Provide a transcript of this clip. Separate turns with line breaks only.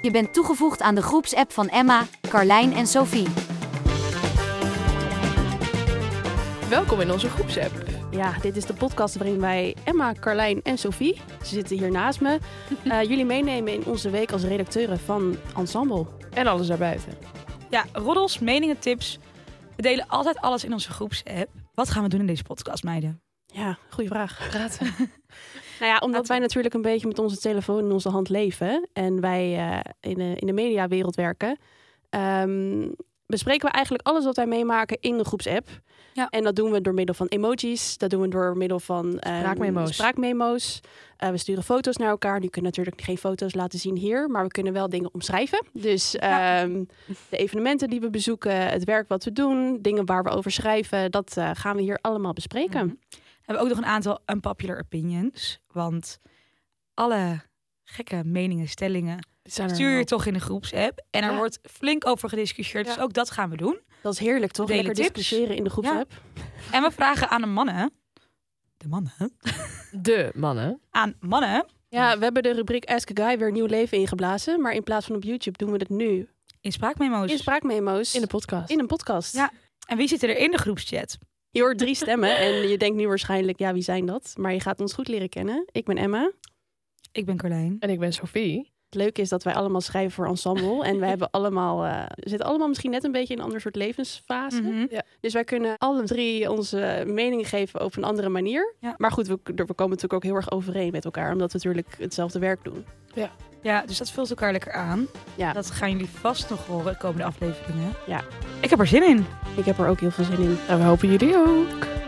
Je bent toegevoegd aan de groepsapp van Emma, Carlijn en Sophie.
Welkom in onze groepsapp.
Ja, dit is de podcast waarin wij Emma, Carlijn en Sophie, ze zitten hier naast me, eh, jullie meenemen in onze week als redacteuren van Ensemble.
En alles daarbuiten.
Ja, roddels, meningen, tips. We delen altijd alles in onze groepsapp. Wat gaan we doen in deze podcast, meiden?
Ja, goede vraag.
Praten.
Nou ja, omdat
Laten
wij natuurlijk een beetje met onze telefoon in onze hand leven en wij eh, in, de, in de mediawereld werken, ehm, bespreken we eigenlijk alles wat wij meemaken in de groepsapp.
Ja.
En dat doen we door middel van emojis, dat doen we door middel van ehm,
Spraakmemo's.
spraakmemo's. Eh, we sturen foto's naar elkaar. Nu kunnen we natuurlijk geen foto's laten zien hier, maar we kunnen wel dingen omschrijven. Dus
Ja.
ehm, de evenementen die we bezoeken, het werk wat we doen, dingen waar we over schrijven, dat eh, gaan we hier allemaal bespreken.
Mhm. We hebben ook nog een aantal unpopular opinions. Want alle gekke meningen, stellingen stuur je toch in de groepsapp. En er
Ja.
wordt flink over gediscussieerd.
Ja.
Dus ook dat gaan we doen.
Dat is heerlijk, toch?
Delen
Lekker
tips.
discussiëren in de groepsapp.
En we vragen aan de mannen. De mannen?
De mannen.
Aan mannen
Ja, we hebben de rubriek Ask a Guy weer nieuw leven ingeblazen. Maar in plaats van op YouTube doen we het nu
in spraakmemo's.
in spraakmemo's
In de podcast.
in een podcast.
Ja. en wie zit er in de groepschat?
Je hoort drie stemmen en je denkt nu waarschijnlijk, ja, wie zijn dat? Maar je gaat ons goed leren kennen. Ik ben Emma.
Ik ben Carlijn.
En ik ben Sophie.
Het leuke is dat wij allemaal schrijven voor Ensemble. en wij hebben allemaal, eh, we zitten allemaal misschien net een beetje in een ander soort levensfase.
Mhm.
Dus wij kunnen alle drie onze meningen geven op een andere manier.
Ja.
Maar goed, we, we komen natuurlijk ook heel erg overeen met elkaar. Omdat we natuurlijk hetzelfde werk doen.
Ja, dus dat vult elkaar lekker aan.
Ja.
Dat gaan jullie vast nog horen de komende afleveringen.
Ja.
Ik heb er zin in.
Ik heb er ook heel veel zin in.
En we hopen jullie ook.